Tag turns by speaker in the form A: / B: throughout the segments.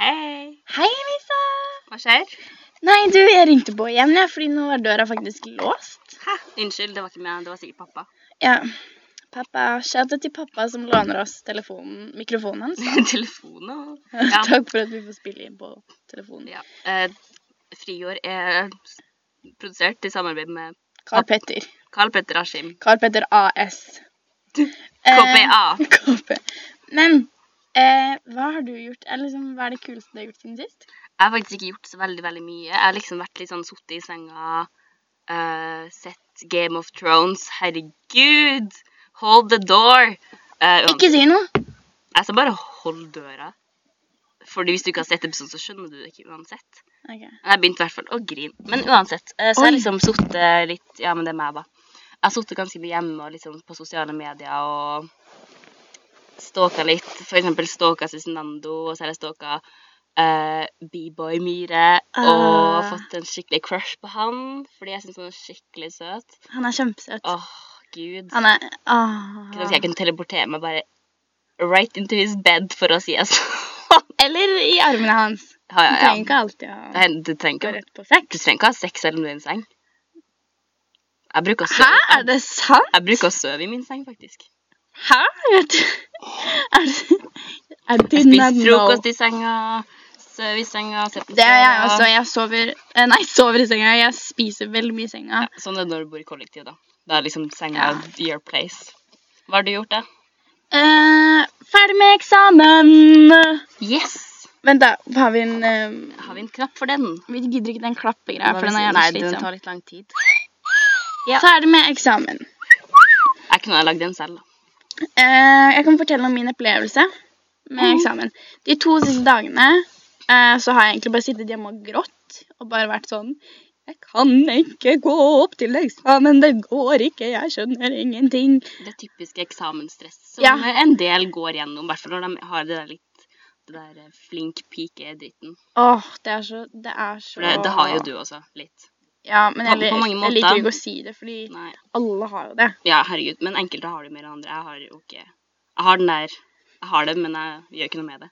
A: Hei.
B: Hei, Elisa!
A: Hva skjer?
B: Nei, du, jeg ringte på igjen, jeg, fordi nå er døra faktisk låst.
A: Hæ? Unnskyld, det var ikke meg. Det var sikkert pappa.
B: Ja. Pappa, shout out til pappa som låner oss telefonen, mikrofonen hans.
A: Telefonen og Ja.
B: Takk for at vi får spille inn på telefonen.
A: ja. Eh, Friår er produsert i samarbeid med
B: Carl Petter.
A: Carl Petter Askim.
B: Carl Petter AS.
A: KPA.
B: Eh, KP. Men eh, hva har du gjort? Eller liksom, hva er det kuleste du har gjort siden sist?
A: Jeg har faktisk ikke gjort så veldig veldig mye. Jeg har liksom vært litt sånn sittet i senga, eh, sett Game of Thrones. Herregud! Hold the door! Eh, uansett,
B: Ikke si noe!
A: jeg sa bare hold døra. Fordi hvis du ikke har sett episoden, så skjønner du det ikke uansett.
B: Ok.
A: Jeg begynte i hvert fall å grine. Men uansett, eh, så har
B: Oi.
A: jeg liksom sittet litt Ja, men det er meg, da. Jeg har sittet ganske mye hjemme og liksom på sosiale medier og stalka litt. For eksempel stalka Cezinando, og så har jeg stalka eh, B-boy Myhre. Og
B: Ah.
A: fått en skikkelig crush på han, fordi jeg syns han er skikkelig søt.
B: Han er kjempesøt.
A: Åh, gud.
B: Han er Åh.
A: Kunne ønske jeg kunne teleportere meg bare right into his bed for å si det sånn.
B: Eller i armene hans.
A: Ja,
B: Du
A: ja,
B: trenger
A: ja.
B: ikke alltid å
A: Nei, Du trenger
B: gå
A: ikke
B: rett på sex.
A: Du trenger ikke ha sex selv om du er i en seng. Jeg bruker å
B: Hæ,
A: sove,
B: er det sant?
A: jeg bruker å sove i min seng, faktisk.
B: Hæ? Er det, er det, I
A: Jeg
B: did
A: spiser
B: not know.
A: frokost i senga, sover i senga, ser på
B: Det gjør jeg
A: serier.
B: også. Jeg sover eh, Nei, sover i senga. Jeg spiser veldig mye i senga.
A: Ja, sånn er det når du bor i kollektiv, da. Da er liksom senga
B: Ja.
A: your place. Hva har du gjort, da?
B: Eh, ferdig med eksamen!
A: Yes!
B: Vent, da. Har vi en eh,
A: Har vi en knapp for den?
B: Vi gidder ikke den klappegreia, for den er
A: Nei,
B: jævlig
A: den
B: slitsom.
A: tar litt lang tid.
B: Ja. Ferdig med eksamen.
A: Jeg kunne ha lagd den selv, da.
B: Eh, jeg kan fortelle om min opplevelse med
A: Mhm.
B: eksamen. De to siste dagene eh, så har jeg egentlig bare sittet hjemme og grått og bare vært sånn Jeg kan ikke gå opp til eksamen, det går ikke, jeg skjønner ingenting.
A: Det typiske eksamensstress som
B: Ja.
A: en del går gjennom, i hvert fall når de har det der litt det der eh, flink pike-dritten.
B: Åh, det er så Det er så
A: For det, det har jo du også, litt.
B: Ja, men
A: på-
B: jeg,
A: på
B: lik-
A: mange
B: jeg liker
A: måter.
B: ikke å si det, fordi
A: Nei.
B: alle har jo det.
A: Ja, herregud. Men enkelte har det mer enn andre. Jeg har jo ikke Jeg har den der. Jeg har det, men jeg gjør ikke noe med det.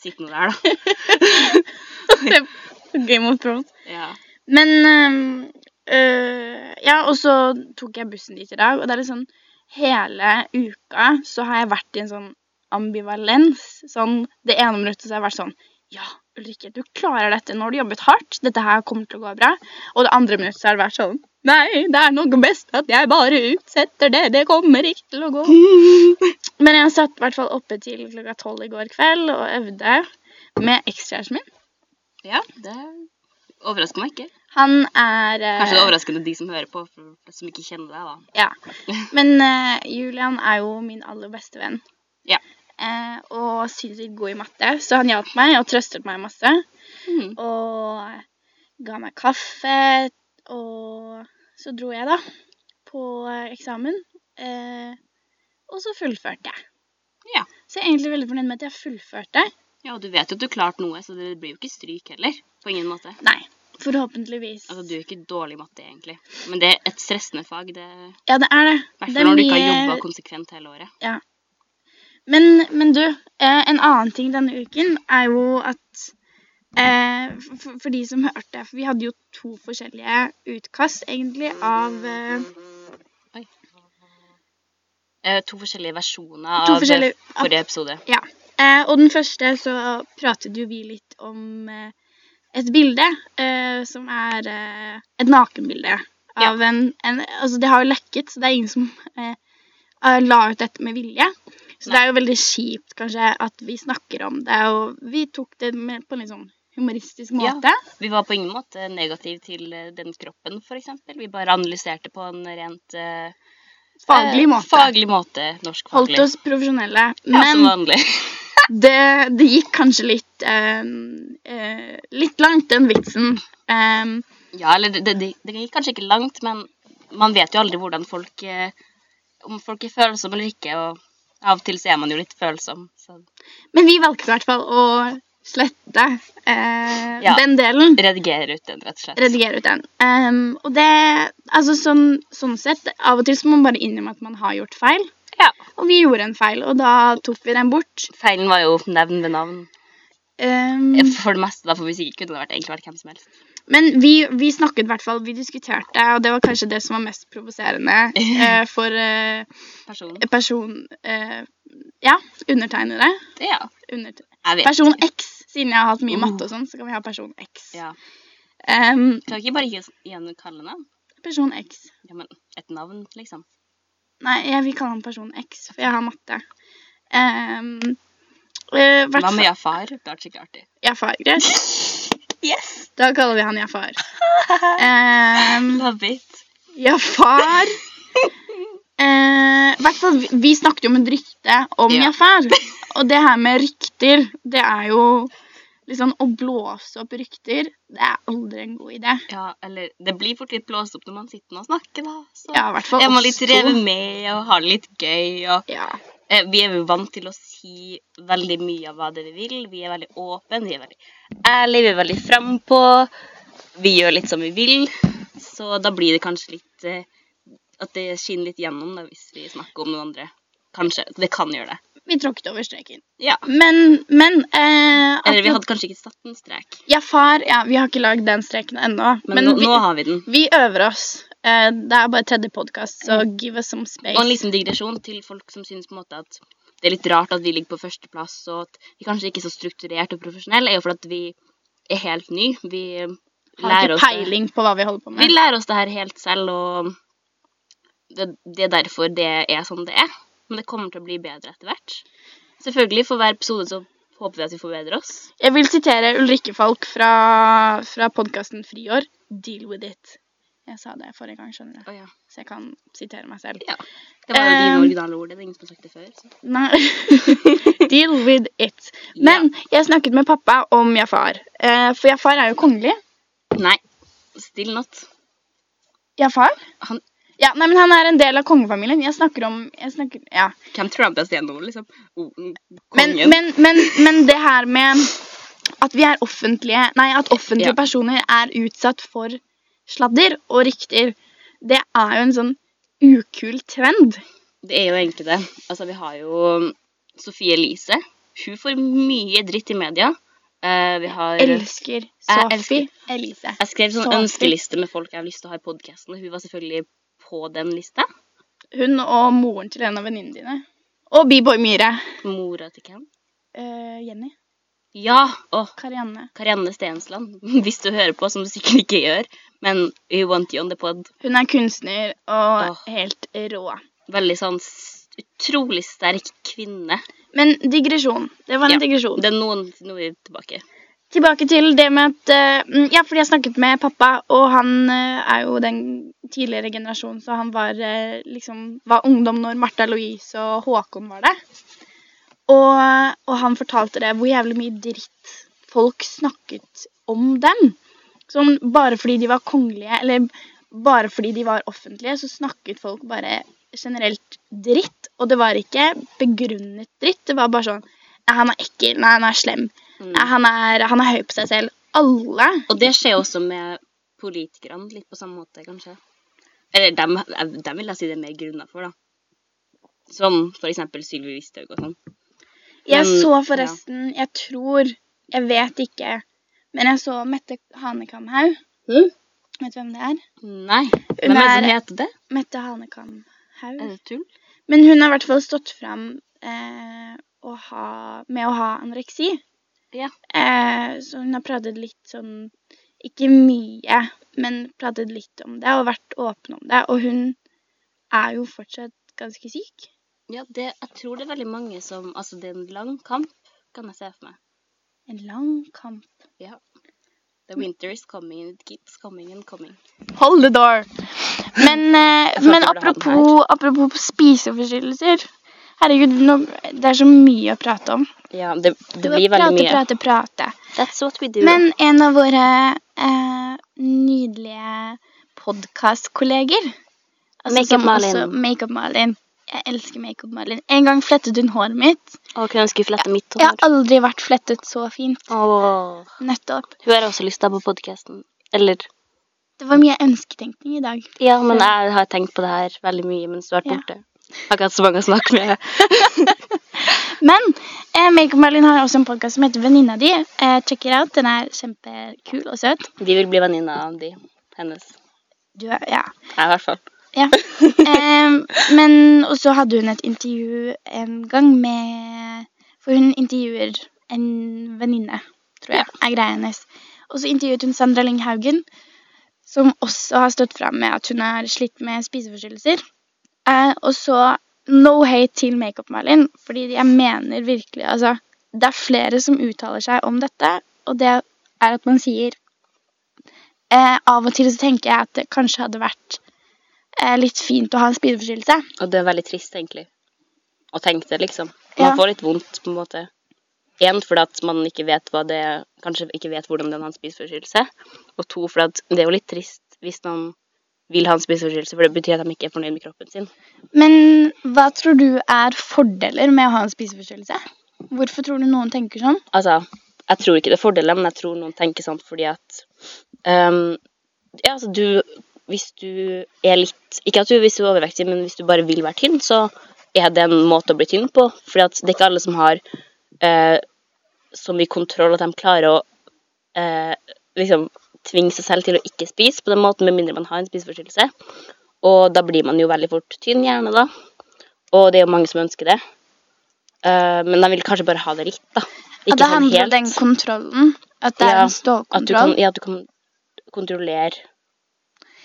A: Sitt nå der, da.
B: Game of Thrones.
A: Ja.
B: Men øhm, øh, Ja, og så tok jeg bussen dit i dag, og det er litt sånn Hele uka så har jeg vært i en sånn ambivalens. Sånn det ene minuttet så har jeg vært sånn Ja, Ulrikke, du klarer dette. Nå har du jobbet hardt. Dette her kommer til å gå bra. Og det andre minuttet så har det vært sånn Nei, det er nok best at jeg bare utsetter det. Det kommer ikke til å gå. Men jeg satt i hvert fall oppe til klokka tolv i går kveld og øvde med ekskjæresten min.
A: ja, det overrasker meg ikke.
B: Han er eh,
A: Kanskje det er overraskende de som hører på, for, som ikke kjenner deg, da.
B: Ja. Men eh, Julian er jo min aller beste venn.
A: Ja.
B: Eh, og sinnssykt god i matte, så han hjalp meg og trøstet meg masse.
A: Mhm.
B: Og ga meg kaffe, og så dro jeg, da, på eh, eksamen. Eh, og så fullførte jeg.
A: Ja.
B: Så jeg er egentlig veldig fornøyd med at jeg fullførte.
A: Ja, og du vet jo at du klarte noe, så det blir jo ikke stryk heller. På ingen måte.
B: Nei, forhåpentligvis.
A: Altså, du er ikke dårlig i matte, egentlig. Men det er et stressende fag. det... I
B: Ja, det er det.
A: hvert
B: Det er
A: fall når du ikke har
B: mye-
A: jobba konsekvent hele året.
B: Men, men du, eh, en annen ting denne uken er jo at eh, for, for de som hørte For vi hadde jo to forskjellige utkast, egentlig, av eh,
A: Eh, to forskjellige versjoner
B: To
A: av
B: forskjellige
A: eh, forrige episode.
B: eh, Og den første så pratet jo vi litt om eh, et bilde eh, som er eh, et nakenbilde
A: Ja.
B: av en, en Altså, det har jo lekket, så det er ingen som eh, eh, la ut dette med vilje. Så det
A: Nei.
B: er jo veldig kjipt, kanskje, at vi snakker om det, og vi tok det med, på en litt sånn humoristisk
A: Ja.
B: måte.
A: Vi var på ingen måte negativ til eh, den kroppen, f.eks. Vi bare analyserte på en rent eh,
B: faglig
A: eh,
B: måte.
A: Faglig måte, norsk faglig.
B: Holdt oss profesjonelle.
A: ja, som
B: Men
A: vanlig.
B: det, det gikk kanskje litt eh, eh, Litt langt, den vitsen. Eh,
A: Ja, eller det, det, det gikk kanskje ikke langt, men man vet jo aldri hvordan folk eh, Om folk er følsomme eller ikke, og av og til så er man jo litt følsom. Så
B: men vi valgte i hvert fall å slette eh,
A: Ja.
B: den delen.
A: redigerer ut den, rett og slett.
B: Redigere ut den. Eh, og det Altså sånn, sånn sett, av og til så må man bare innrømme at man har gjort feil.
A: Ja.
B: Og vi gjorde en feil, og da tok vi den bort.
A: Feilen var jo nevn ved navn.
B: Ehm,
A: For det meste, da, for musikk kunne det vært, egentlig vært hvem som helst.
B: men vi, vi snakket i hvert fall, vi diskuterte, og det var kanskje det som var mest provoserende eh, for eh,
A: Person.
B: person eh, Ja, undertegnede.
A: Ja,
B: Underte
A: jeg vet. Mm.
B: person X, siden jeg har hatt mye matte og sånn, så kan vi ha person X.
A: Ja.
B: Ehm,
A: Kan ikke bare gi oss igjen kallenavn?
B: person X.
A: Ja, men et navn, liksom.
B: Nei, jeg vil kalle han person X, for jeg har matte. Ehm, eh, hvert
A: Hva med
B: fall-
A: Jafar? Det hadde vært skikkelig artig.
B: Jafar? Greit.
A: Yes!
B: Da kaller vi han Jafar. Um,
A: Love it.
B: Jafar Eh, hvert fall, vi- Vi snakket jo om et rykte om
A: Ja.
B: Jafar. Og det her med rykter, det er jo liksom Å blåse opp rykter, det er aldri en god idé.
A: Ja, eller Det blir fort litt blåst opp når man sitter og snakker, da. Så
B: Ja, i hvert fall
A: er man
B: oss
A: litt
B: to.
A: revet med og har det litt gøy. Og,
B: Ja.
A: eh, vi er jo vant til å si veldig mye av hva det vi vil. Vi er veldig åpne, vi er veldig ærlige, vi er veldig frampå. Vi gjør litt som vi vil. Så da blir det kanskje litt eh, At det skinner litt gjennom da, hvis vi snakker om noen andre. Kanskje. Det kan gjøre det.
B: Vi tråkket over streken.
A: Ja.
B: Men, men eh,
A: Eller vi
B: apropos-
A: hadde kanskje ikke satt en strek.
B: Jafar Ja, vi har ikke lagd den streken ennå.
A: Men, nå,
B: vi,
A: nå har vi den.
B: vi øver oss. Eh, det er bare tredje podkast, så give us some space.
A: Mm. Og en liten digresjon til folk som syns på en måte at det er litt rart at vi ligger på førsteplass, og at vi kanskje ikke er så strukturert og profesjonelle, er jo fordi at vi er helt ny. Vi
B: har
A: lærer
B: ikke
A: oss det.
B: peiling på hva vi holder
A: Vi
B: på med.
A: lærer oss det her helt selv, og det, det er derfor det er som det er. Men det kommer til å bli bedre etter hvert. Selvfølgelig, for hver episode så håper vi at vi forbedrer oss.
B: Jeg vil sitere Ulrikke Falk fra, fra podkasten Friår. Deal with it. Jeg sa det forrige gang, skjønner du.
A: Å ja.
B: Så jeg kan sitere meg selv.
A: ja. Det var jo dine
B: Ehm.
A: originale ord. Det er ingen som har sagt det før. Så.
B: Nei. Deal with it. Men jeg snakket med pappa om Jafar. Eh, for Jafar er jo kongelig.
A: Nei. Still not.
B: Jafar?
A: Han-
B: Ja, nei, men han er en del av kongefamilien. Jeg snakker om jeg snakker, ja.
A: Hvem trampes gjennom, liksom? Oh, mm,
B: men,
A: kongen.
B: men, men, men det her med at vi er offentlige Nei, at offentlige
A: Ja.
B: personer er utsatt for sladder og rykter, det er jo en sånn ukul trend.
A: Det er jo egentlig det. Altså, vi har jo Sofie Elise. Hun får mye dritt i media. Eh, vi har
B: Elsker
A: Jeg
B: Sophie Elise.
A: Jeg skrev sånn
B: Sophie.
A: ønskeliste med folk jeg har lyst til å ha i podkasten, og hun var selvfølgelig på den lista.
B: Hun og moren til en av venninnene dine. Og B-boy Myhre.
A: Mora til hvem?
B: Eh, Jenny.
A: Ja! Og
B: Karianne.
A: Karianne Stensland. Hvis du hører på, som du sikkert ikke gjør. Men we want you on the pod.
B: Hun er kunstner og
A: Åh.
B: helt rå.
A: Veldig sånn s- utrolig sterk kvinne.
B: Men digresjon. Det var
A: Ja.
B: en digresjon.
A: Det er noen Nå er vi tilbake.
B: Tilbake til det med at eh, mm, Ja, fordi jeg snakket med pappa, og han eh, er jo den tidligere generasjonen, så han var eh, liksom var ungdom når Martha Louise og Håkon var det. Og, og han fortalte det, hvor jævlig mye dritt folk snakket om dem. Sånn bare fordi de var kongelige, eller bare fordi de var offentlige, så snakket folk bare generelt dritt. Og det var ikke begrunnet dritt, det var bare sånn Nei, han er ekkel. Nei, han er slem.
A: Mm.
B: Nei, han er, han er høy på seg selv. Alle
A: Og det skjer jo også med politikerne, litt på samme måte, kanskje. Eller dem, dem vil jeg si det er mer grunner for, da. Som for eksempel Sylvi Listhaug og sånn.
B: Jeg
A: Men-
B: så forresten Jeg tror Jeg vet ikke. Men jeg så Mette Hanekamhaug.
A: Mhm.
B: Vet du hvem det er?
A: Nei.
B: Hun
A: Hvem er det som
B: er-
A: heter det?
B: Mette Hanekamhaug.
A: Er det tull?
B: Men hun har i hvert fall stått fram eh, å ha, med å ha anoreksi.
A: Ja.
B: Eh, så hun har pratet litt sånn Ikke mye, men pratet litt om det og vært åpen om det. Og hun er jo fortsatt ganske syk.
A: Ja, det, jeg tror det er veldig mange som Altså, det er en lang kamp, kan jeg se for meg.
B: En lang kamp.
A: The winter is coming and it keeps coming and coming.
B: Hold the door. Men, eh,
A: Jeg følte jeg
B: men
A: burde ha den
B: apropos, apropos spiseforstyrrelser Herregud, nå, det er så mye å prate om.
A: Ja, det,
B: Det var Prate, prate, prate.
A: That's what we do.
B: Men en av våre eh, nydelige altså podkastkolleger
A: Makeup Altså, Malin.
B: Makeup-Malin. Jeg elsker Makeup-Malin. En gang flettet hun håret mitt.
A: Å, kunne ønske vi fletta mitt
B: Jeg har aldri vært flettet så fint.
A: Åh.
B: Nettopp.
A: Hun har også lyst til å på podkasten. Eller
B: Det var mye ønsketenkning i dag.
A: Ja, men jeg har tenkt på det her veldig mye mens du har vært
B: Ja.
A: borte. Jeg har ikke hatt så mange å snakke med.
B: Men eh, Make Merlin har også en podkast som heter Venninna di. Eh, check it out. Den er kjempekul og søt.
A: De vil bli venninna av de. Hennes.
B: Du er, ja.
A: Jeg, i hvert fall.
B: ja. Eh, men og så hadde hun et intervju en gang med For hun intervjuer en venninne, tror jeg, er greia hennes. Og så intervjuet hun Sandra Lyng Haugen, som også har stått fram med at hun har slitt med spiseforstyrrelser. Eh, og så no hate til Makeup-Malin, fordi jeg mener virkelig altså, Det er flere som uttaler seg om dette, og det er at man sier eh, Av og til så tenker jeg at det kanskje hadde vært eh, litt fint å ha en spiseforstyrrelse.
A: Og det er veldig trist, egentlig. Å tenke det, liksom. Man
B: Ja.
A: får litt vondt, på en måte. Én fordi at man ikke vet hva det Kanskje ikke vet hvordan den har en spiseforstyrrelse. Og to fordi at det er jo litt trist hvis noen vil ha en spiseforstyrrelse, for det betyr at de ikke er fornøyd med kroppen sin.
B: Men hva tror du er fordeler med å ha en spiseforstyrrelse? Hvorfor tror du noen tenker sånn?
A: Altså, jeg tror ikke det er fordeler, men jeg tror noen tenker sånn fordi at ehm, Ja, altså, du Hvis du er litt Ikke at du hvis du er overvektig, men hvis du bare vil være tynn, så er det en måte å bli tynn på. Fordi at det er ikke alle som har eh, så mye kontroll at de klarer å eh, liksom tvinge seg selv til å ikke spise på den måten, med mindre man har en spiseforstyrrelse. Og da blir man jo veldig fort tynn, gjerne, da. Og det er jo mange som ønsker det. Eh, men de vil kanskje bare ha det litt, da.
B: At det
A: sånn
B: handler om
A: helt.
B: den kontrollen. At det er
A: Ja,
B: en
A: At du kan,
B: stålkontroll.
A: ja, at du kan kontrollere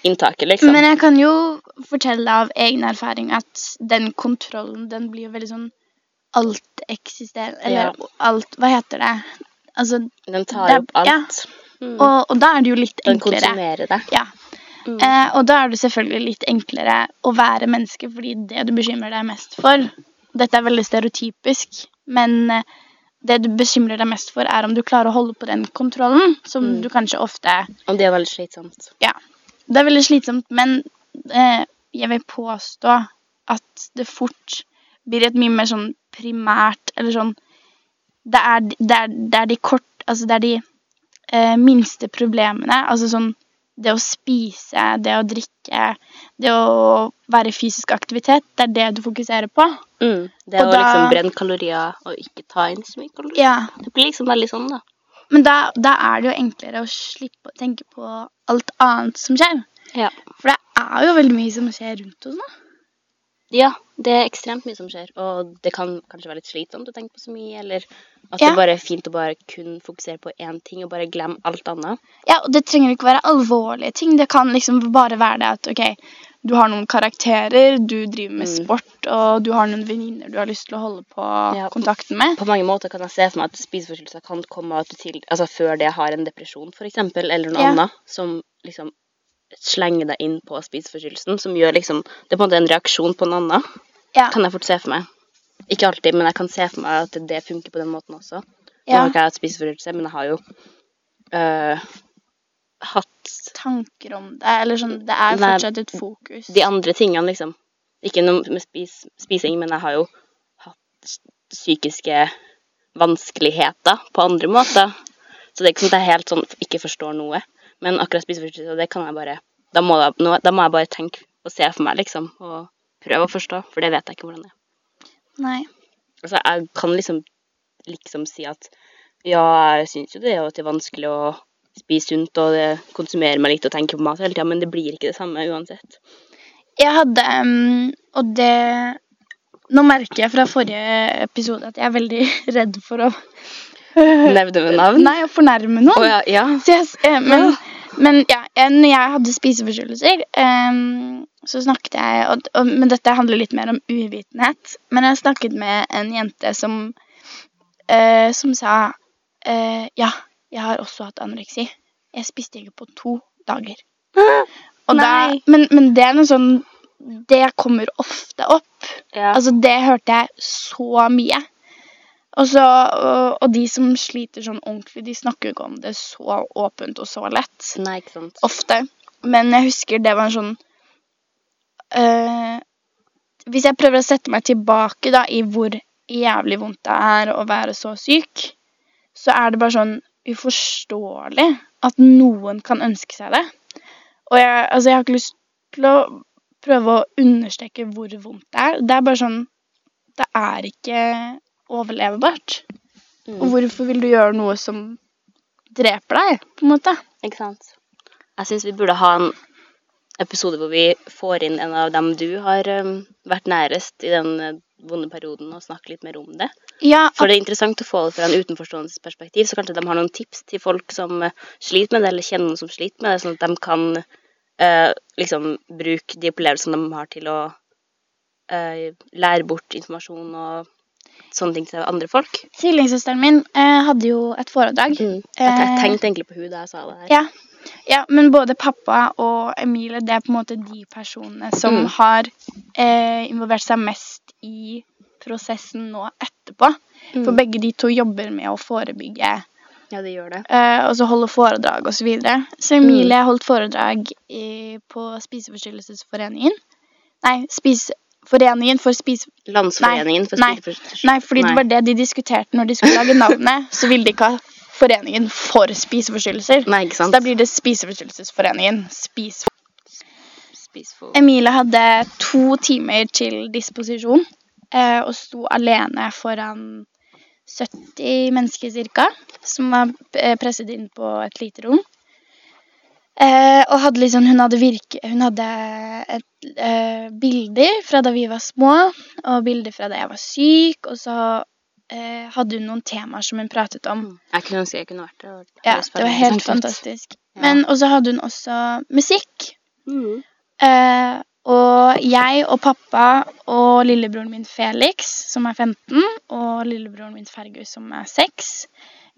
A: inntaket, liksom.
B: Men jeg kan jo fortelle av egen erfaring at den kontrollen, den blir jo veldig sånn alteksisterende Eller alt Hva heter det? Altså,
A: den tar
B: det er-
A: opp alt.
B: ja.
A: Mm.
B: og, og da er det jo litt
A: den
B: enklere.
A: konsumerer deg.
B: Ja.
A: Mm.
B: Eh, og da er det selvfølgelig litt enklere å være menneske, fordi det du bekymrer deg mest for Dette er veldig stereotypisk, men eh, det du bekymrer deg mest for, er om du klarer å holde på den kontrollen, som
A: Mm.
B: du kanskje ofte
A: Og det er veldig slitsomt.
B: Ja. Det er veldig slitsomt, men eh, jeg vil påstå at det fort blir et mye mer sånn primært Eller sånn Det er, det er, det er de kort Altså, det er de eh, minste problemene. Altså sånn det å spise, det å drikke, det å være i fysisk aktivitet, det er det du fokuserer på.
A: Mm. Det er
B: Og
A: å
B: da-
A: liksom brenne kalorier og ikke ta inn så mye kalorier.
B: Ja.
A: Det blir liksom veldig sånn, da.
B: Men da, da er det jo enklere å slippe å tenke på alt annet som skjer.
A: Ja.
B: For det er jo veldig mye som skjer rundt oss nå.
A: ja. Det er ekstremt mye som skjer, og det kan kanskje være litt slitsomt å tenke på så mye, eller at det
B: Ja.
A: bare er fint å bare kun fokusere på én ting og bare glemme alt annet.
B: Ja, og det trenger ikke være alvorlige ting. Det kan liksom bare være det at ok, du har noen karakterer, du driver med
A: Mm.
B: sport, og du har noen venninner du har lyst til å holde på
A: Ja.
B: kontakten med.
A: På mange måter kan jeg se for meg at spiseforstyrrelser kan komme av at du til, altså før det har en depresjon, for eksempel, eller noe
B: Ja.
A: annet, som liksom slenger deg inn på spiseforstyrrelsen, som gjør liksom Det er på en måte en reaksjon på en annen,
B: Ja.
A: kan jeg fort se for meg. Ikke alltid, men jeg kan se for meg at det funker på den måten også. Nå
B: ja.
A: har ikke jeg hatt spiseforstyrrelse, men jeg har jo øh, hatt
B: Tanker om det, eller sånn Det er
A: Nei,
B: fortsatt et fokus.
A: de andre tingene, liksom. Ikke noe med spis, spising, men jeg har jo hatt psykiske vanskeligheter på andre måter. Så det er ikke sånn at jeg helt sånn ikke forstår noe. Men akkurat spiseforstyrrelse, det kan jeg bare da må, jeg, nå- da må jeg bare tenke og se for meg, liksom. Og prøve å forstå, for det vet jeg ikke hvordan det er.
B: Nei.
A: Altså, jeg kan liksom liksom si at ja, jeg syns jo det er jo at det er vanskelig å spise sunt og det konsumerer meg litt og tenker på mat hele tida, men det blir ikke det samme uansett.
B: Jeg hadde um, Og det Nå merker jeg fra forrige episode at jeg er veldig redd for å
A: Nevner du navn?
B: Nei, å fornærme noen.
A: Å ja, ja.
B: Så jeg, s- eh, men,
A: Ja.
B: men ja, eh, når jeg hadde spiseforstyrrelser, ehm, så snakket jeg og, og, Men dette handler litt mer om uvitenhet. Men jeg snakket med en jente som, eh, som sa eh, Ja, jeg har også hatt anoreksi. Jeg spiste ikke på to dager. Og da,
A: Nei.
B: men, men det er noe sånn Det kommer ofte opp.
A: Ja.
B: Altså, det hørte jeg så mye. Og, så, og, og de som sliter sånn ordentlig, de snakker jo ikke om det så åpent og så lett.
A: Nei, ikke sant.
B: Ofte. Men jeg husker det var en sånn øh, Hvis jeg prøver å sette meg tilbake da, i hvor jævlig vondt det er å være så syk, så er det bare sånn uforståelig at noen kan ønske seg det. Og jeg, altså, jeg har ikke lyst til å prøve å understreke hvor vondt det er. Det er bare sånn Det er ikke overlevebart.
A: Mm.
B: Og hvorfor vil du gjøre noe som dreper deg, på en måte?
A: Ikke sant? Jeg syns vi burde ha en episode hvor vi får inn en av dem du har um, vært nærest i den eh, vonde perioden, og snakke litt mer om det.
B: Ja,
A: For det er interessant å få det fra en utenforståendes perspektiv, så kanskje de har noen tips til folk som eh, sliter med det, eller kjenner noen som sliter med det, sånn at de kan eh, liksom bruke de opplevelsene de har til å eh, lære bort informasjon og sånne ting til andre folk.
B: Tvillingsøsteren min eh, hadde jo et foredrag.
A: Jeg te-
B: Eh.
A: tenkte egentlig på hun da jeg sa det her.
B: Ja. ja, men både pappa og Emilie det er på en måte de personene som
A: Mm.
B: har eh, involvert seg mest i prosessen nå etterpå.
A: Mm.
B: For begge de to jobber med å forebygge
A: Ja, det gjør det.
B: eh, og så holde foredrag osv. Så, videre. så Emilie
A: Mm.
B: holdt foredrag i, på Spiseforstyrrelsesforeningen. Nei, Spiseforeningen for spise...
A: Landsforeningen for
B: nei,
A: spiseforstyrrelser.
B: Nei, fordi det var det de diskuterte når de skulle lage navnet. Så ville de ikke ha Foreningen for spiseforstyrrelser.
A: Nei, ikke
B: Så
A: sant?
B: da blir det Spiseforstyrrelsesforeningen. Spis...
A: Spisefo-
B: Emilie hadde to timer til disposisjon eh, og sto alene foran 70 mennesker ca., som var eh, presset inn på et lite rom. Eh, og hadde liksom, hun hadde, virke, hun hadde et, eh, bilder fra da vi var små, og bilder fra da jeg var syk, og så eh, hadde hun noen temaer som hun pratet om.
A: Mm. Jeg kunne ønske jeg kunne vært der. og-
B: Ja, det var helt
A: sant?
B: fantastisk.
A: Sånn Ja.
B: Men, og så hadde hun også musikk.
A: Mm.
B: Eh, og jeg og pappa og lillebroren min Felix, som er 15, og lillebroren min Fergus, som er 6,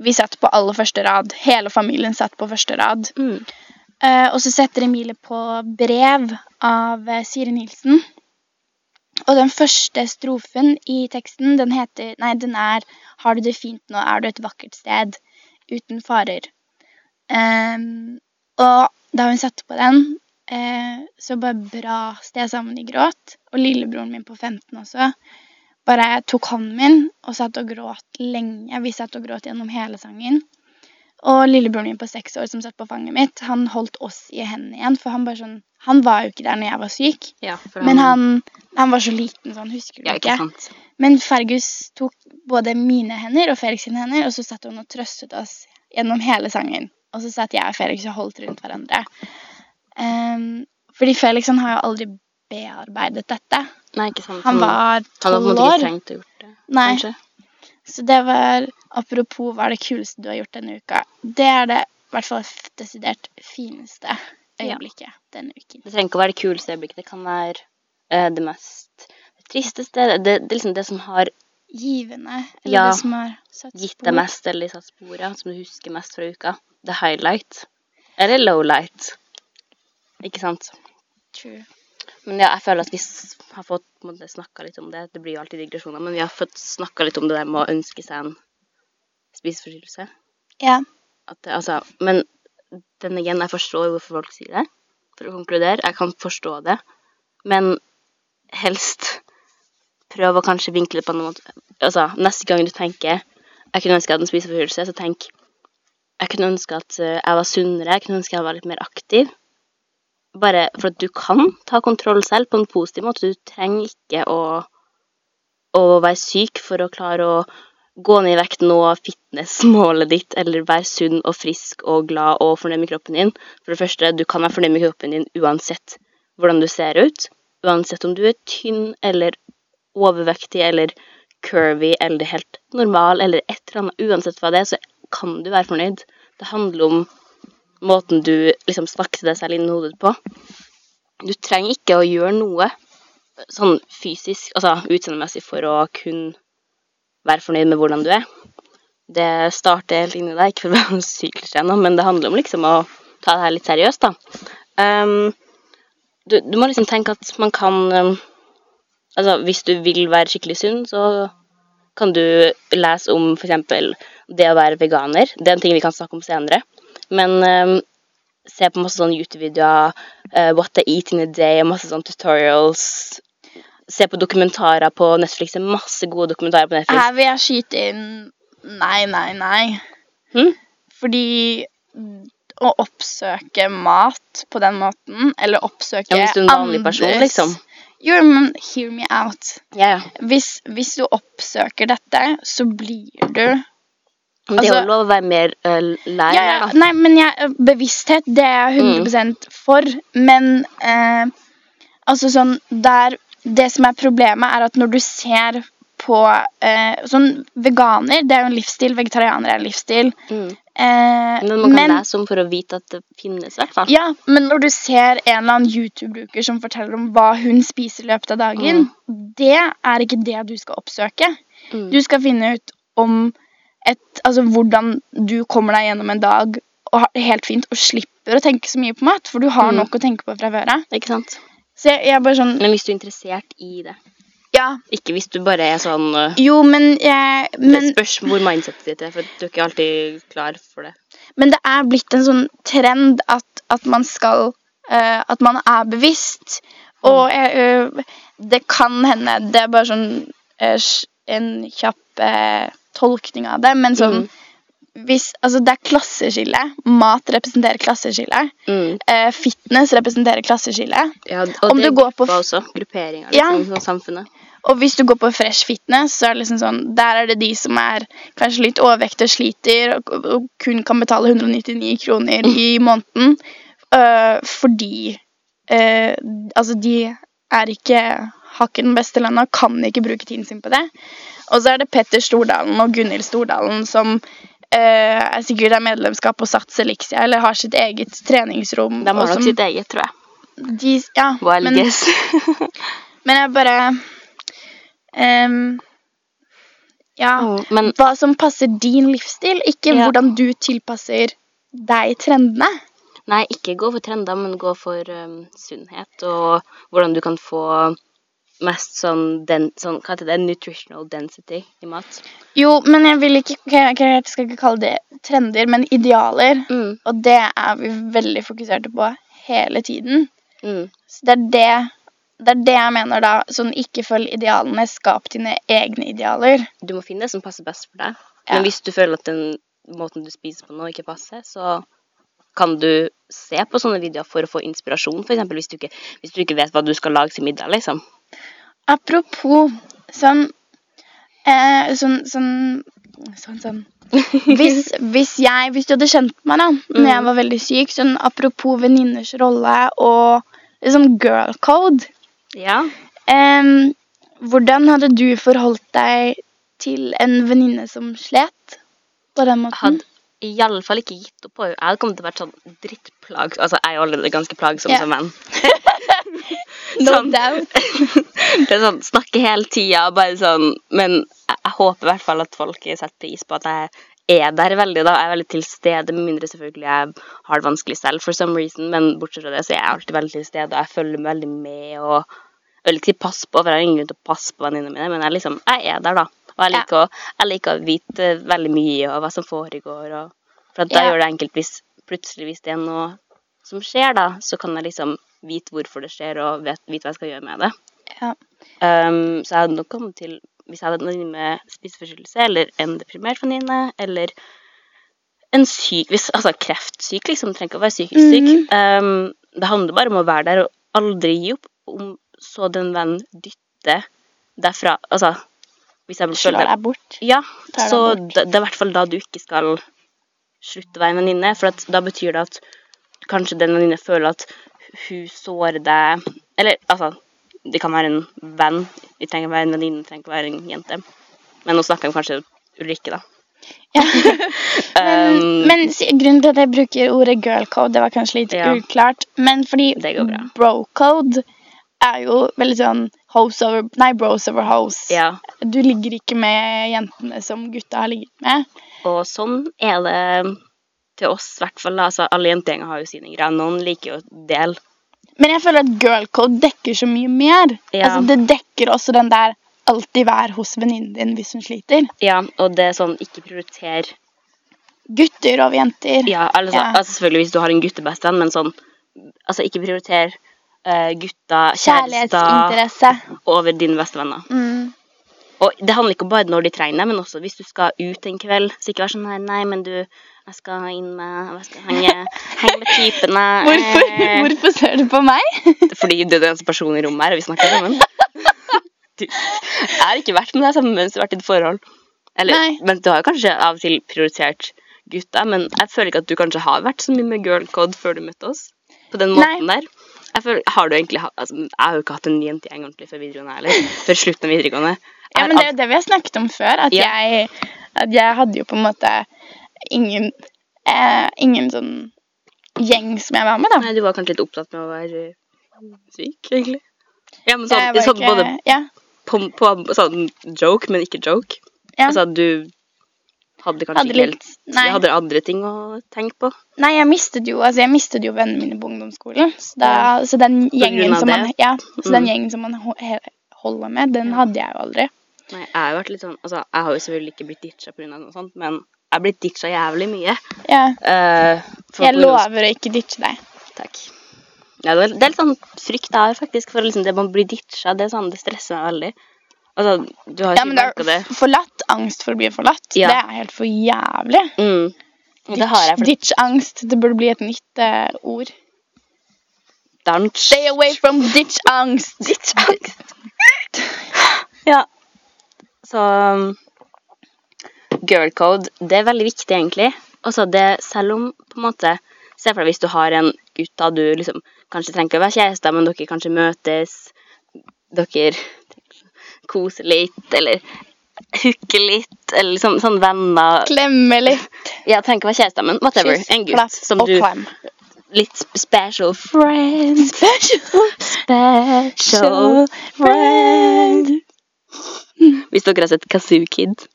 B: vi satt på aller første rad. Hele familien satt på første rad.
A: Mm.
B: Eh, og så setter Emilie på brev av eh, Siri Nilsen. Og den første strofen i teksten, den heter Nei, den er Har du det fint nå, er du et vakkert sted. Uten farer. Ehm, og da hun satte på den, eh, så bare braste jeg sammen i gråt. Og lillebroren min på 15 også. Bare tok hånden min og satt og gråt lenge. Vi satt og gråt gjennom hele sangen. Og lillebroren min på seks år som satt på fanget mitt, han holdt oss i hendene igjen. For han bare sånn Han var jo ikke der når jeg var syk.
A: Ja, for
B: Men han, han var så liten, så han husker det
A: Ja,
B: ikke.
A: ikke sant?
B: Men Fergus tok både mine hender og Felix sine hender, og så satt hun og trøstet oss gjennom hele sangen. Og så satt jeg og Felix og holdt rundt hverandre. Ehm, fordi Felix han har jo aldri bearbeidet dette.
A: Nei, ikke sant?
B: Han var
A: Mm. Han hadde på en
B: tolv
A: måte ikke
B: år.
A: trengt å gjort det,
B: Nei,
A: kanskje?
B: så det var Apropos hva er det kuleste du har gjort denne uka? Det er det i hvert fall f- desidert fineste øyeblikket denne uken.
A: Det trenger ikke å være det kuleste øyeblikket. Det kan være eh, det mest tristeste. Det, det, det er liksom det som har
B: Givende. Eller
A: Ja.
B: det som har satt
A: gitt
B: spor.
A: deg mest, eller satt sporet, som du husker mest fra uka. The highlight. Eller lowlight. Ikke sant?
B: True.
A: Men ja, jeg føler at vi s- har fått på en måte, snakka litt om det. Det blir jo alltid digresjoner, men vi har fått snakka litt om det der med å ønske seg en spiseforstyrrelse.
B: Ja.
A: At det, altså, men den igjen, jeg forstår hvorfor folk sier det. For å konkludere, jeg kan forstå det. Men helst prøv å kanskje vinkle det på en måte. Altså, neste gang du tenker 'jeg kunne ønske jeg hadde en spiseforstyrrelse', så tenk 'jeg kunne ønske at eh, jeg var sunnere', 'jeg kunne ønske jeg var litt mer aktiv'. Bare for at du kan ta kontroll selv på en positiv måte. Du trenger ikke å, å være syk for å klare å gå ned i vekt, nå fitnessmålet ditt, eller vær sunn og frisk og glad og fornøyd med kroppen din. For det første, du kan være fornøyd med kroppen din uansett hvordan du ser ut. Uansett om du er tynn eller overvektig eller curvy eller helt normal eller et eller annet. Uansett hva det er, så kan du være fornøyd. Det handler om måten du liksom snakker til deg selv innen hodet på. Du trenger ikke å gjøre noe sånn fysisk, altså utseendemessig, for å kunne være fornøyd med hvordan du er. Det starter helt inni deg, ikke for å være syk ennå, men det handler om liksom å ta det her litt seriøst, da. Ehm, du, du må liksom tenke at man kan ehm, Altså, hvis du vil være skikkelig sunn, så kan du lese om f.eks. det å være veganer. Det er en ting vi kan snakke om senere. Men ehm, se på masse sånne YouTube-videoer, eh, What I Eat in a Day, og masse sånne tutorials. Se på dokumentarer på Netflix. Det er masse gode dokumentarer på Netflix.
B: Her vil jeg skyte inn nei, nei, nei.
A: Hm?
B: Fordi mm, å oppsøke mat på den måten, eller oppsøke
A: Ja, hvis du er en vanlig person, liksom.
B: Jo, men hear me out.
A: Ja, ja.
B: Hvis, hvis du oppsøker dette, så blir du
A: Men det er
B: Altså-
A: jo lov å være mer eh, lei.
B: ja, ja. Nei, men jeg, bevissthet, det er jeg
A: Mm.
B: 100 for. Men eh, altså sånn der Det som er problemet, er at når du ser på eh, Sånn veganer, det er jo en livsstil. Vegetarianer er en livsstil.
A: Mm.
B: Eh,
A: Men man kan lese om for å vite at det finnes, i hvert fall.
B: ja, men når du ser en eller annen YouTube-bruker som forteller om hva hun spiser i løpet av dagen, det er ikke det du skal oppsøke.
A: Mm.
B: Du skal finne ut om et, altså, hvordan du kommer deg gjennom en dag og har det helt fint og slipper å tenke så mye på mat, for du har
A: Mm.
B: nok å tenke på fra før av.
A: Ikke sant?
B: Så jeg, jeg er bare sånn
A: Men hvis du er interessert i det.
B: Ja.
A: Ikke hvis du bare er sånn eh,
B: Jo, men, jeg, men
A: Det spørs hvor mindsetet ditt er, for du er ikke alltid klar for det.
B: Men det er blitt en sånn trend at, at man skal eh, At man er bevisst. Og jeg, eh, det kan hende Det er bare sånn eh, sj- en kjapp eh, tolkning av det, men sånn hvis, altså Det er klasseskille. Mat representerer klasseskille.
A: Mm.
B: Eh, fitness representerer klasseskille.
A: Ja, og
B: Om
A: det
B: du går på
A: gruppa også. Grupperinger
B: Ja.
A: liksom, av samfunnet.
B: Og hvis du går på fresh fitness, så er det liksom sånn, der er det de som er kanskje litt overvektige og sliter, og, og kun kan betale 199 kroner i måneden, øh, fordi øh, altså de er ikke, har ikke den beste lønna, kan ikke bruke tiden sin på det. Og så er det Petter Stordalen og Gunhild Stordalen som øh, er sikkert er medlemskap på Sats Elixia, eller har sitt eget treningsrom.
A: De har
B: og
A: nok
B: som
A: sitt eget, tror jeg.
B: de, ja, men-
A: YLGS.
B: men jeg bare ehm, Ja.
A: men
B: Hva som passer din livsstil, ikke
A: Ja.
B: hvordan du tilpasser deg trendene.
A: Nei, ikke gå for trender, men gå for um, sunnhet og hvordan du kan få mest sånn, den, sånn Hva heter det? Nutritional density i mat.
B: Jo, men jeg vil ikke ok, ok, Jeg skal ikke kalle det trender, men idealer.
A: Mm,
B: Og det er vi veldig fokuserte på hele tiden.
A: mm,
B: Så det er det, det er det jeg mener da. Sånn ikke følg idealene, skap dine egne idealer.
A: Du må finne det som passer best for deg.
B: Ja.
A: Men hvis du føler at den måten du spiser på nå, ikke passer, så kan du se på sånne videoer for å få inspirasjon, f.eks. Hvis, du ikke- hvis du ikke vet hva du skal lage til middag, liksom.
B: Apropos sånn eh, sånn, sånn sånn sånn hvis, hvis jeg Hvis du hadde kjent meg da Når
A: Mm.
B: jeg var veldig syk, sånn apropos venninners rolle og liksom girl code
A: Ja.
B: em, Hvordan hadde du forholdt deg til en venninne som slet på den måten?
A: hadde iallfall ikke gitt opp. og Jeg hadde kommet til å være sånn drittplag... Altså, jeg er jo allerede ganske plagsom
B: Ja.
A: som venn.
B: No
A: sånn.
B: doubt.
A: Det er sånn, Snakke hele tida, bare sånn Men jeg, jeg håper i hvert fall at folk setter pris på at jeg er der veldig, da. Jeg er veldig til stede, med mindre selvfølgelig jeg har det vanskelig selv for some reason, men bortsett fra det så er jeg alltid veldig til stede, og jeg følger meg veldig med og jeg vil ikke si pass på, for jeg har ingen grunn til å passe på venninnene mine, men jeg, liksom, jeg er der, da. Og jeg
B: Ja.
A: liker, å, jeg liker å vite veldig mye og hva som foregår, og for at da
B: Ja.
A: gjør det enkelt hvis plutselig hvis det er noe som skjer, da, så kan jeg liksom vite hvorfor det skjer, og vet, vite hva jeg skal gjøre med det.
B: Ja.
A: Ehm, så jeg hadde nok kommet til Hvis jeg hadde en venninne med spiseforstyrrelse, eller en deprimert venninne, eller en syk hvis, Altså kreftsyk, liksom. Trenger ikke å være psykisk syk.
B: Mhm.
A: Ehm, det handler bare om å være der og aldri gi opp. Om så den vennen dytter deg fra Altså, hvis jeg føler
B: Slår
A: deg
B: deg bort.
A: ja,
B: Tar deg
A: så
B: bort.
A: det, det er i hvert fall da du ikke skal slutte å være en venninne, for at, da betyr det at kanskje den venninne føler at hun sårer deg Eller altså, det kan være en venn. Vi trenger ikke være en venninne, det trenger ikke være en jente. Men nå snakker vi kanskje Ulrikke, da.
B: Men,
A: Um,
B: men si- grunnen til at jeg bruker ordet girl code, det var kanskje litt
A: Ja.
B: uklart. Men fordi
A: Det går bra.
B: bro code er jo veldig sånn house over, nei, bros over house.
A: ja.
B: Du ligger ikke med jentene som gutta har ligget med.
A: Og sånn er det til oss, i hvert fall. da. Altså, alle jentegjenger har jo sine greier. Noen liker jo å dele.
B: Men jeg føler at girl code dekker så mye mer.
A: Ja.
B: Altså, det dekker også den der alltid vær hos venninnen din hvis hun sliter.
A: Ja, og det er sånn ikke prioriter
B: Gutter over jenter.
A: Ja, altså,
B: Ja.
A: altså selvfølgelig hvis du har en guttebestevenn, men sånn Altså, ikke prioriter eh, gutter, kjærester,
B: Kjærlighetsinteresse.
A: over dine bestevenner.
B: Mm.
A: Og det handler ikke bare når de trenger deg, men også hvis du skal ut en kveld. Så ikke vær sånn her Nei, men du, jeg skal inn med Jeg skal henge, henge med typene. Eh,
B: Hvorfor, hvorfor ser du på meg?
A: Fordi du er den eneste personen i rommet her, og vi snakker sammen. Du, jeg har ikke vært med deg sammen mens du har vært i et forhold. Eller,
B: Nei.
A: Men du har jo kanskje av og til prioritert gutta, men jeg føler ikke at du kanskje har vært så mye med girl code før du møtte oss. På den
B: Nei.
A: måten der. Jeg, føler, har du egentlig, ha- altså, jeg har jo ikke hatt en jentegjeng ordentlig før videregående heller. Før slutten av videregående.
B: Ja,
A: Er
B: men Det
A: alt-
B: er jo det vi har snakket om før. At,
A: Ja.
B: jeg, at jeg hadde jo på en måte ingen, eh, ingen sånn gjeng som jeg var med, da.
A: Nei, du var kanskje litt opptatt med å være eh, syk, egentlig. Ja, men sånn,
B: jeg var
A: sånn både
B: ja,
A: på, på sånn joke, men ikke joke.
B: ja.
A: Altså, du hadde kanskje
B: Hadde
A: ikke
B: litt-
A: helt
B: nei.
A: Du hadde andre ting å tenke på.
B: Nei, jeg mistet jo, altså, jeg mistet jo vennene mine på ungdomsskolen. Så, da, så, den,
A: grunn
B: gjengen
A: av
B: som man,
A: det?
B: ja, så
A: Mm.
B: den gjengen som man ho- he- holder med, den hadde jeg jo aldri.
A: Nei, jeg har jo vært litt sånn Altså, jeg har jo selvfølgelig ikke blitt ditcha pga. noe sånt, men jeg er blitt ditcha jævlig mye.
B: Ja.
A: eh, for
B: Jeg
A: på grunn av-
B: lover å ikke ditche deg.
A: Takk. Ja, det, er, det er litt sånn frykt jeg har, faktisk, for liksom det man blir ditcha. Det, er sånn, det stresser meg veldig. Altså, du har jo
B: Ja,
A: sikkert
B: men det
A: merka
B: er
A: det.
B: f- forlatt angst for å bli forlatt.
A: Ja.
B: Det er helt for jævlig.
A: Mm. Og det har jeg. For
B: Ditch-angst. Det burde bli et nytt eh, ord.
A: Dansk.
B: Stay away from ditch-angst.
A: Ditchangst. ja. Så um, Girl code, det er veldig viktig, egentlig. Også det, selv om på en måte Se for deg hvis du har en gutt da du liksom kanskje trenger ikke å være kjærester, men dere kanskje møtes, dere koser litt, eller hooker litt, eller liksom sånn venner
B: Klemme litt.
A: Ja, trenger ikke å være kjærester, men whatever.
B: Kyss,
A: en gutt
B: klapp
A: som
B: og
A: du
B: klem.
A: Litt sp- special friend. Special friend. Hvis dere har sett Kazoo Kid,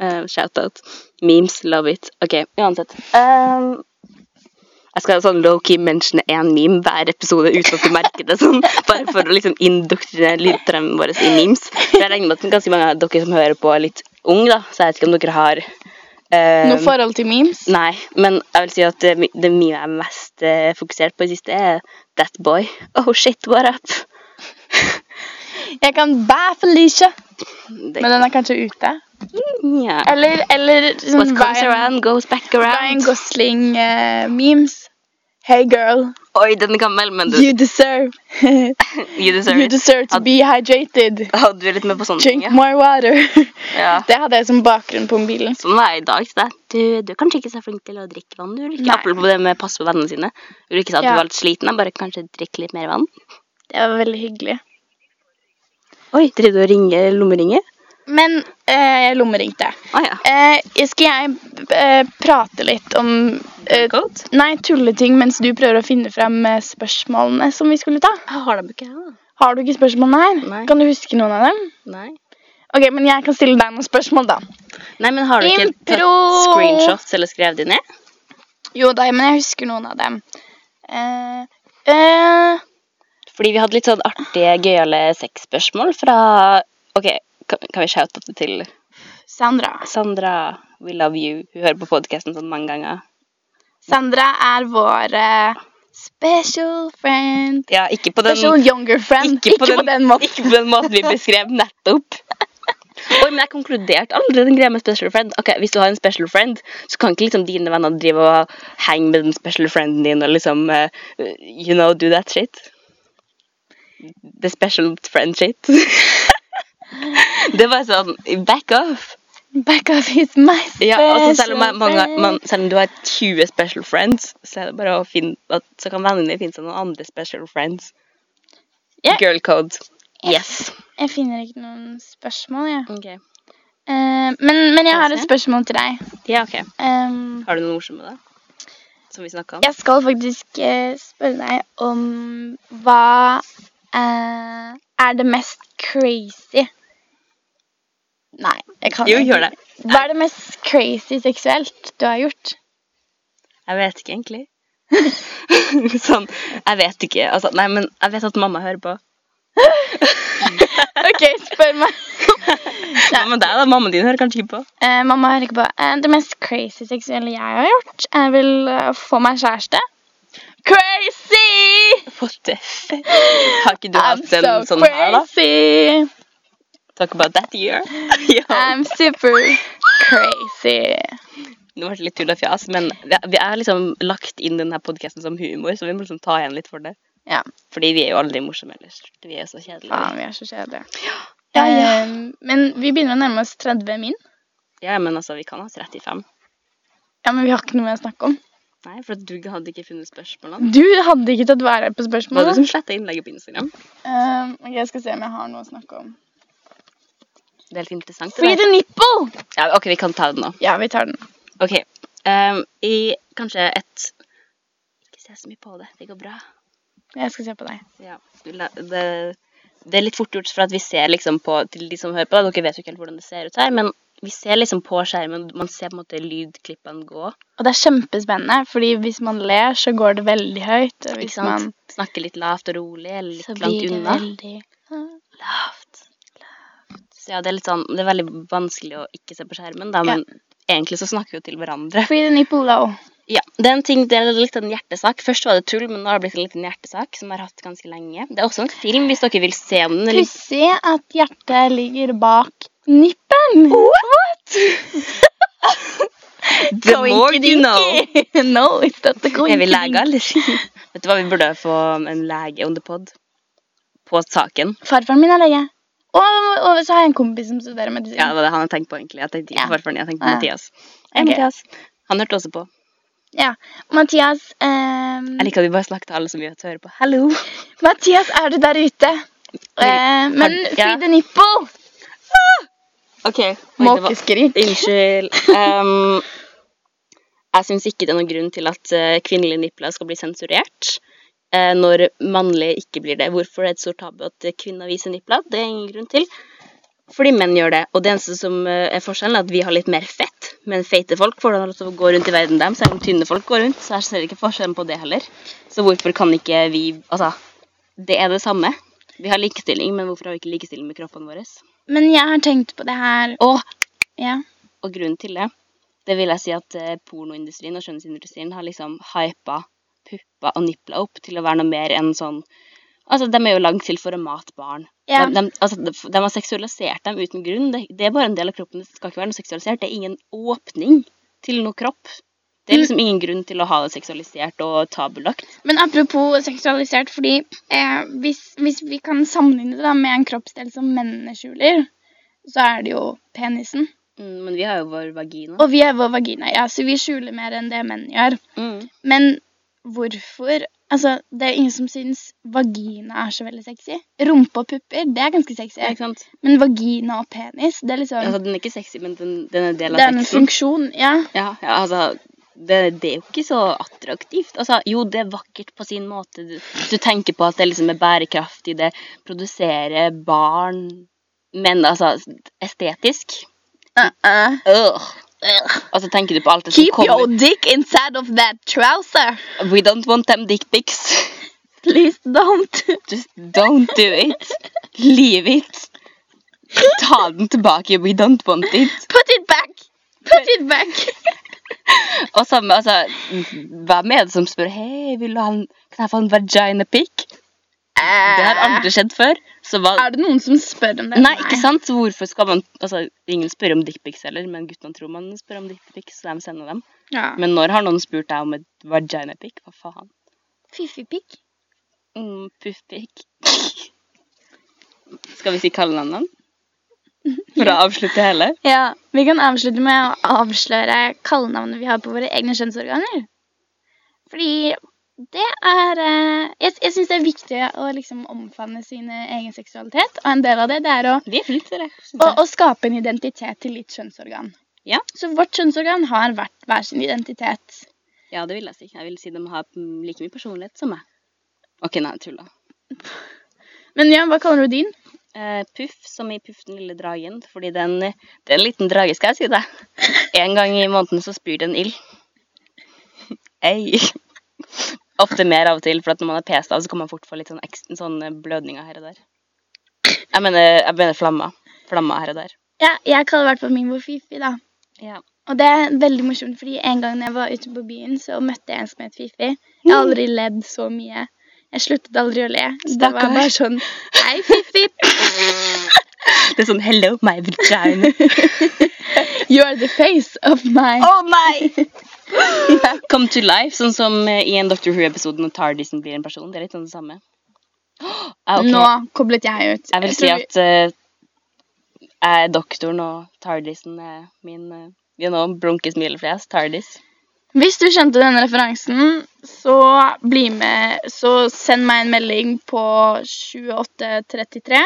A: eh, shout-out. Memes, love it. Ok, uansett. Ehm, jeg skal sånn low-key mentione én meme hver episode uten at du merker det. sånn, Bare for å liksom indoktrinere lytterne våre i memes. For Jeg regner med at ganske mange av dere som hører på, er litt unge, da, så jeg vet ikke om dere har eh,
B: Noe forhold til memes?
A: Nei, men jeg vil si at det, mi- det mye jeg er mest eh, fokusert på i det siste, er That Boy. Oh shit, what up?
B: Jeg kan bæ Felicia.
A: Det,
B: Men den er kanskje ute.
A: ja.
B: Eller, eller sånn
A: What comes around, goes back
B: Ryan
A: around.
B: Gosling-memes. hey girl,
A: Oi, den er gammel, men du,
B: you deserve
A: you deserve
B: You
A: it.
B: deserve to
A: At-
B: be hydrated.
A: Å, du er litt med på sånne ting,
B: Drink
A: ja.
B: more water.
A: ja.
B: Det hadde jeg som bakgrunn på mobilen.
A: Sånn var jeg i dag til deg. Du, du er kanskje ikke så flink til å drikke vann. Du vil ikke
B: Nei.
A: apropos det med å passe på vennene sine. Du vil ikke si at
B: Ja.
A: du var litt sliten, jeg bare kanskje drikke litt mer vann.
B: Det var veldig hyggelig.
A: Oi, driver du og ringer lommeringer?
B: Men eh, jeg lommeringte.
A: Å ja.
B: Eh, skal jeg eh, prate litt om eh,
A: Code?
B: Nei, tulleting mens du prøver å finne fram eh, spørsmålene som vi skulle ta?
A: Jeg har dem ikke her, da.
B: Har du ikke spørsmålene her?
A: Nei.
B: Kan du huske noen av dem?
A: Nei.
B: Ok, men jeg kan stille deg noen spørsmål, da.
A: Nei, men har du ikke tatt
B: Impro!
A: screenshots eller skrevet de ned?
B: Jo da, men jeg husker noen av dem. Eh, eh,
A: Fordi vi hadde litt sånn artige, gøyale sexspørsmål fra Ok, kan, kan vi shoute det til
B: Sandra.
A: Sandra? We love you. Hun hører på podkasten sånn mange ganger.
B: Sandra er vår eh, special friend.
A: Ja, ikke på den
B: Special younger friend.
A: Ikke på, den,
B: måten.
A: ikke på den måten vi beskrev nettopp. Oi, men jeg konkluderte aldri den greia med special friend. Ok, Hvis du har en special friend, så kan ikke liksom dine venner drive og henge med den special frienden din og liksom eh, You know, do that shit. The special friend shit. Det var sånn Back off!
B: Back off is my special
A: Ja, altså selv, om jeg, mange,
B: friend.
A: man, selv om du har 20 special friends, så er det bare å finne at, Så kan vennene dine finne seg noen andre special friends.
B: Ja.
A: Girl code. Yes.
B: Jeg finner ikke noen spørsmål, jeg.
A: Ok.
B: Eh, men, men jeg har et spørsmål til deg.
A: Ja, ok.
B: Ehm,
A: Har du noe morsomt med det? Som vi snakka om?
B: jeg skal faktisk eh, spørre deg om hva eh, er det mest crazy Nei, jeg kan
A: Jo,
B: ikke.
A: gjør det.
B: Hva er det mest crazy seksuelt du har gjort?
A: Jeg vet ikke, egentlig. sånn, jeg vet ikke. Altså, nei, men jeg vet at mamma hører på.
B: OK, spør meg.
A: Hva med deg, da? Mammaen din hører kanskje ikke på.
B: Eh, mamma hører ikke på. Eh, det mest crazy seksuelle jeg har gjort, er vel å få meg kjæreste. Crazy!
A: What the fuck? Har ikke du
B: I'm
A: hatt en
B: so
A: sånn her, da?
B: crazy.
A: talk about that year. Um, Yo.
B: I'm super crazy.
A: Nå ble det litt tull og fjas, men vi vi er liksom lagt inn denne podkasten som humor, så vi må liksom ta igjen litt for det.
B: Ja.
A: Fordi vi er jo aldri morsomme ellers. Vi er så kjedelige.
B: Faen, vi er så kjedelige.
A: Ja, ja.
B: Ehm, men vi begynner å nærme oss 30 min.
A: Ja, men altså, vi kan ha 35.
B: Ja, men vi har ikke noe mer å snakke om.
A: Nei, for at du hadde ikke funnet spørsmålene.
B: Du hadde ikke tatt vare på
A: Var det
B: spørsmålet.
A: du som sletta innlegget på Instagram?
B: Ehm, ok, jeg skal se om jeg har noe å snakke om.
A: Det er litt interessant.
B: Free
A: det der.
B: the nipple!
A: Ja, OK, vi kan ta det nå.
B: Ja, vi tar den.
A: OK. ehm, I kanskje et Ikke se så mye på det. Det går bra.
B: Jeg skal se på deg.
A: Ja, du la- det, det er litt fort gjort for at vi ser liksom på Til de som hører på, da, dere vet jo ikke helt hvordan det ser ut her, men vi ser liksom på skjermen, man ser på en måte lydklippene gå.
B: Og det er kjempespennende, fordi hvis man ler, så går det veldig høyt. Og
A: Ikke
B: hvis
A: sant?
B: man
A: Snakke litt lavt og rolig, eller litt
B: så blir
A: langt
B: det
A: unna.
B: veldig
A: Lavt. Så ja, det er litt sånn Det er veldig vanskelig å ikke se på skjermen, da, men egentlig så snakker vi jo til hverandre.
B: Free the nipple, though.
A: Ja, det er en ting, det er litt av en hjertesak. Først var det tull, men nå har det blitt en liten hjertesak som jeg har hatt ganske lenge. Det er også en film, hvis dere vil se om den. eller-
B: Pussig at hjertet ligger bak nippen. What?
A: The more you know.
B: no, it's not the
A: Er vi leger, eller? Vet du hva, vi burde få en lege on the pod på saken.
B: Farfaren min er lege. Og, og så har jeg en kompis som studerer medisin.
A: Ja, det var det han jeg tenkte på, egentlig. Jeg tenkte ikke
B: Ja.
A: på farfaren, jeg tenkte på
B: Ja.
A: Mathias. Hei,
B: Ok.
A: Mathias. Han hørte også på.
B: Ja. Mathias ehm,
A: Jeg liker at vi bare snakker til alle som vi hører på. Hallo!
B: Mathias, er du der ute? Eh, men
A: har- ja.
B: free the nipple!
A: Ok.
B: Måkeskrik.
A: Unnskyld. Ehm, jeg syns ikke det er noen grunn til at eh, kvinnelige nipler skal bli sensurert. eh, når mannlige ikke blir det. Hvorfor er det et stort tabu at eh, kvinner viser nipler? Det er ingen grunn til. Fordi menn gjør det. Og det eneste som eh, er forskjellen, er at vi har litt mer fett. Men feite folk får da lov til å gå rundt i verden dem, selv om tynne folk går rundt. Så jeg ser ikke forskjellen på det heller. Så hvorfor kan ikke vi Altså, det er det samme. Vi har likestilling, men hvorfor har vi ikke likestilling med kroppene våre?
B: Men jeg har tenkt på det her
A: Og
B: ja.
A: og grunnen til det, det vil jeg si at eh, pornoindustrien og skjønnhetsindustrien har liksom hypa pupper og nipler opp til å være noe mer enn sånn Altså, de er jo lagd til for å mate barn.
B: Ja.
A: De, de, altså, de, de har seksualisert dem uten grunn. Det, det er bare en del av kroppen. Det skal ikke være noe seksualisert. Det er ingen åpning til noe kropp. Det er liksom ingen grunn til å ha det seksualisert og tabulagt.
B: Men apropos seksualisert, fordi eh, hvis, hvis vi kan sammenligne det da med en kroppsdel som mennene skjuler, så er det jo penisen.
A: Mm, men vi har jo vår vagina.
B: Og vi er vår vagina, ja, så vi skjuler mer enn det menn gjør.
A: Mm.
B: Men hvorfor Altså, det er ingen som syns vagina er så veldig sexy. Rumpe og pupper, det er ganske sexy.
A: Ja, ikke sant?
B: Men vagina og penis, det er liksom
A: Altså, den er ikke sexy, men den, den er del
B: Det er
A: av
B: en
A: sexen.
B: funksjon, ja.
A: Ja, ja altså det, det er jo ikke så attraktivt. Altså, jo, det er vakkert på sin måte. Du, du tenker på at det liksom er bærekraftig, det produserer barn Men altså, estetisk øh. Og så tenker du på alt det som
B: Keep your
A: kommer.
B: dick inside of that trouser.
A: We don't want them dick pics.
B: Please don't.
A: Just don't do it. Leave it. Ta den tilbake. We don't want it.
B: Put it back. Put it back.
A: Og samme, altså Hvem er det som spør Hei, vil du ha en, kan jeg få en vagina pic? Det har aldri skjedd før. Så hva
B: Er det noen som spør om det?
A: Nei, ikke sant? Så hvorfor skal man Altså, ingen spør om dickpics heller, men guttene tror man spør om dickpics, så de sender dem.
B: Ja.
A: Men når har noen spurt deg om et vaginapic? Hva faen?
B: Fiffipikk.
A: Mm, Puffpic. Skal vi si kallenavn? For å avslutte hele?
B: Ja, Vi kan avslutte med å avsløre kallenavnet vi har på våre egne kjønnsorganer. Fordi det er eh, Jeg, jeg syns det er viktig å liksom omfavne sin eh, egen seksualitet. Og en del av det det er å,
A: De er flinke til det. synes
B: å,
A: jeg.
B: å skape en identitet til ditt kjønnsorgan.
A: Ja.
B: Så vårt kjønnsorgan har hvert hver sin identitet.
A: Ja, det vil jeg si. Jeg vil si de har mm, like mye personlighet som meg. OK, nei, jeg tulla.
B: Men ja, hva kaller du din?
A: Eh, puff, som i Puff den lille dragen. Fordi den, det er en liten drage, skal jeg si deg. En gang i måneden så spyr den ild. Ei. Ofte mer av og til, for at når man er pest av, så kan man fort få litt sånn, ekstra, sånn eh, blødninger her og der. Jeg mener, jeg mener flammer. Flammer her og der.
B: Ja, jeg kaller i hvert fall min vår Fifi, da.
A: Ja.
B: Og det er veldig morsomt, fordi en gang jeg var ute på byen, så møtte jeg en som het Fifi. Jeg
A: Mm.
B: har aldri ledd så mye. Jeg sluttet aldri å le. Det var
A: Stakkar.
B: bare sånn Hei, Fifi.
A: Det er sånn 'hello, my vagina'.
B: You're the face of Oh, my
A: Å nei! Come to life, sånn som eh, i en Doctor Who-episode når Tardisen blir en person. Det er litt sånn det samme. Å, ah, ok.
B: Nå koblet jeg ut.
A: Jeg vil si
B: tror vi-
A: at eh, jeg er doktoren, og Tardisen er min eh, you know, blunke smilefjes. Tardis.
B: Hvis du skjønte denne referansen, så bli med Så send meg en melding på 2833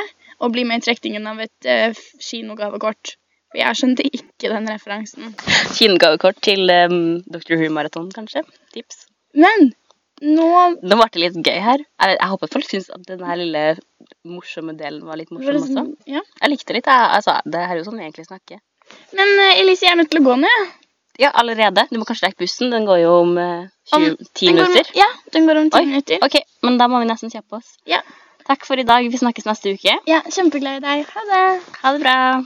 B: og bli med i trekningen av et eh, f- kinogavekort. For jeg skjønte ikke den referansen.
A: Kinngavekort til um, Doctor Who-maraton, kanskje. Tips.
B: Men nå
A: Nå ble det litt gøy her. Jeg, vet- jeg håper folk syns at denne lille morsomme delen var litt morsom også.
B: ja.
A: Jeg likte litt, jeg. Altså, det her er jo sånn vi egentlig snakker.
B: Men eh, Elise, jeg er nødt til å gå nå, jeg.
A: Ja, allerede. Du må kanskje rekke bussen. Den går jo om eh,
B: Om-
A: 20, 10
B: Den går om-
A: minutter.
B: Ja, den går om ti
A: Oi.
B: minutter.
A: Ok, men da må vi nesten kjappe oss.
B: Ja.
A: Takk for i dag. Vi snakkes neste uke.
B: Ja, kjempeglad i deg. Ha det.
A: Ha det bra.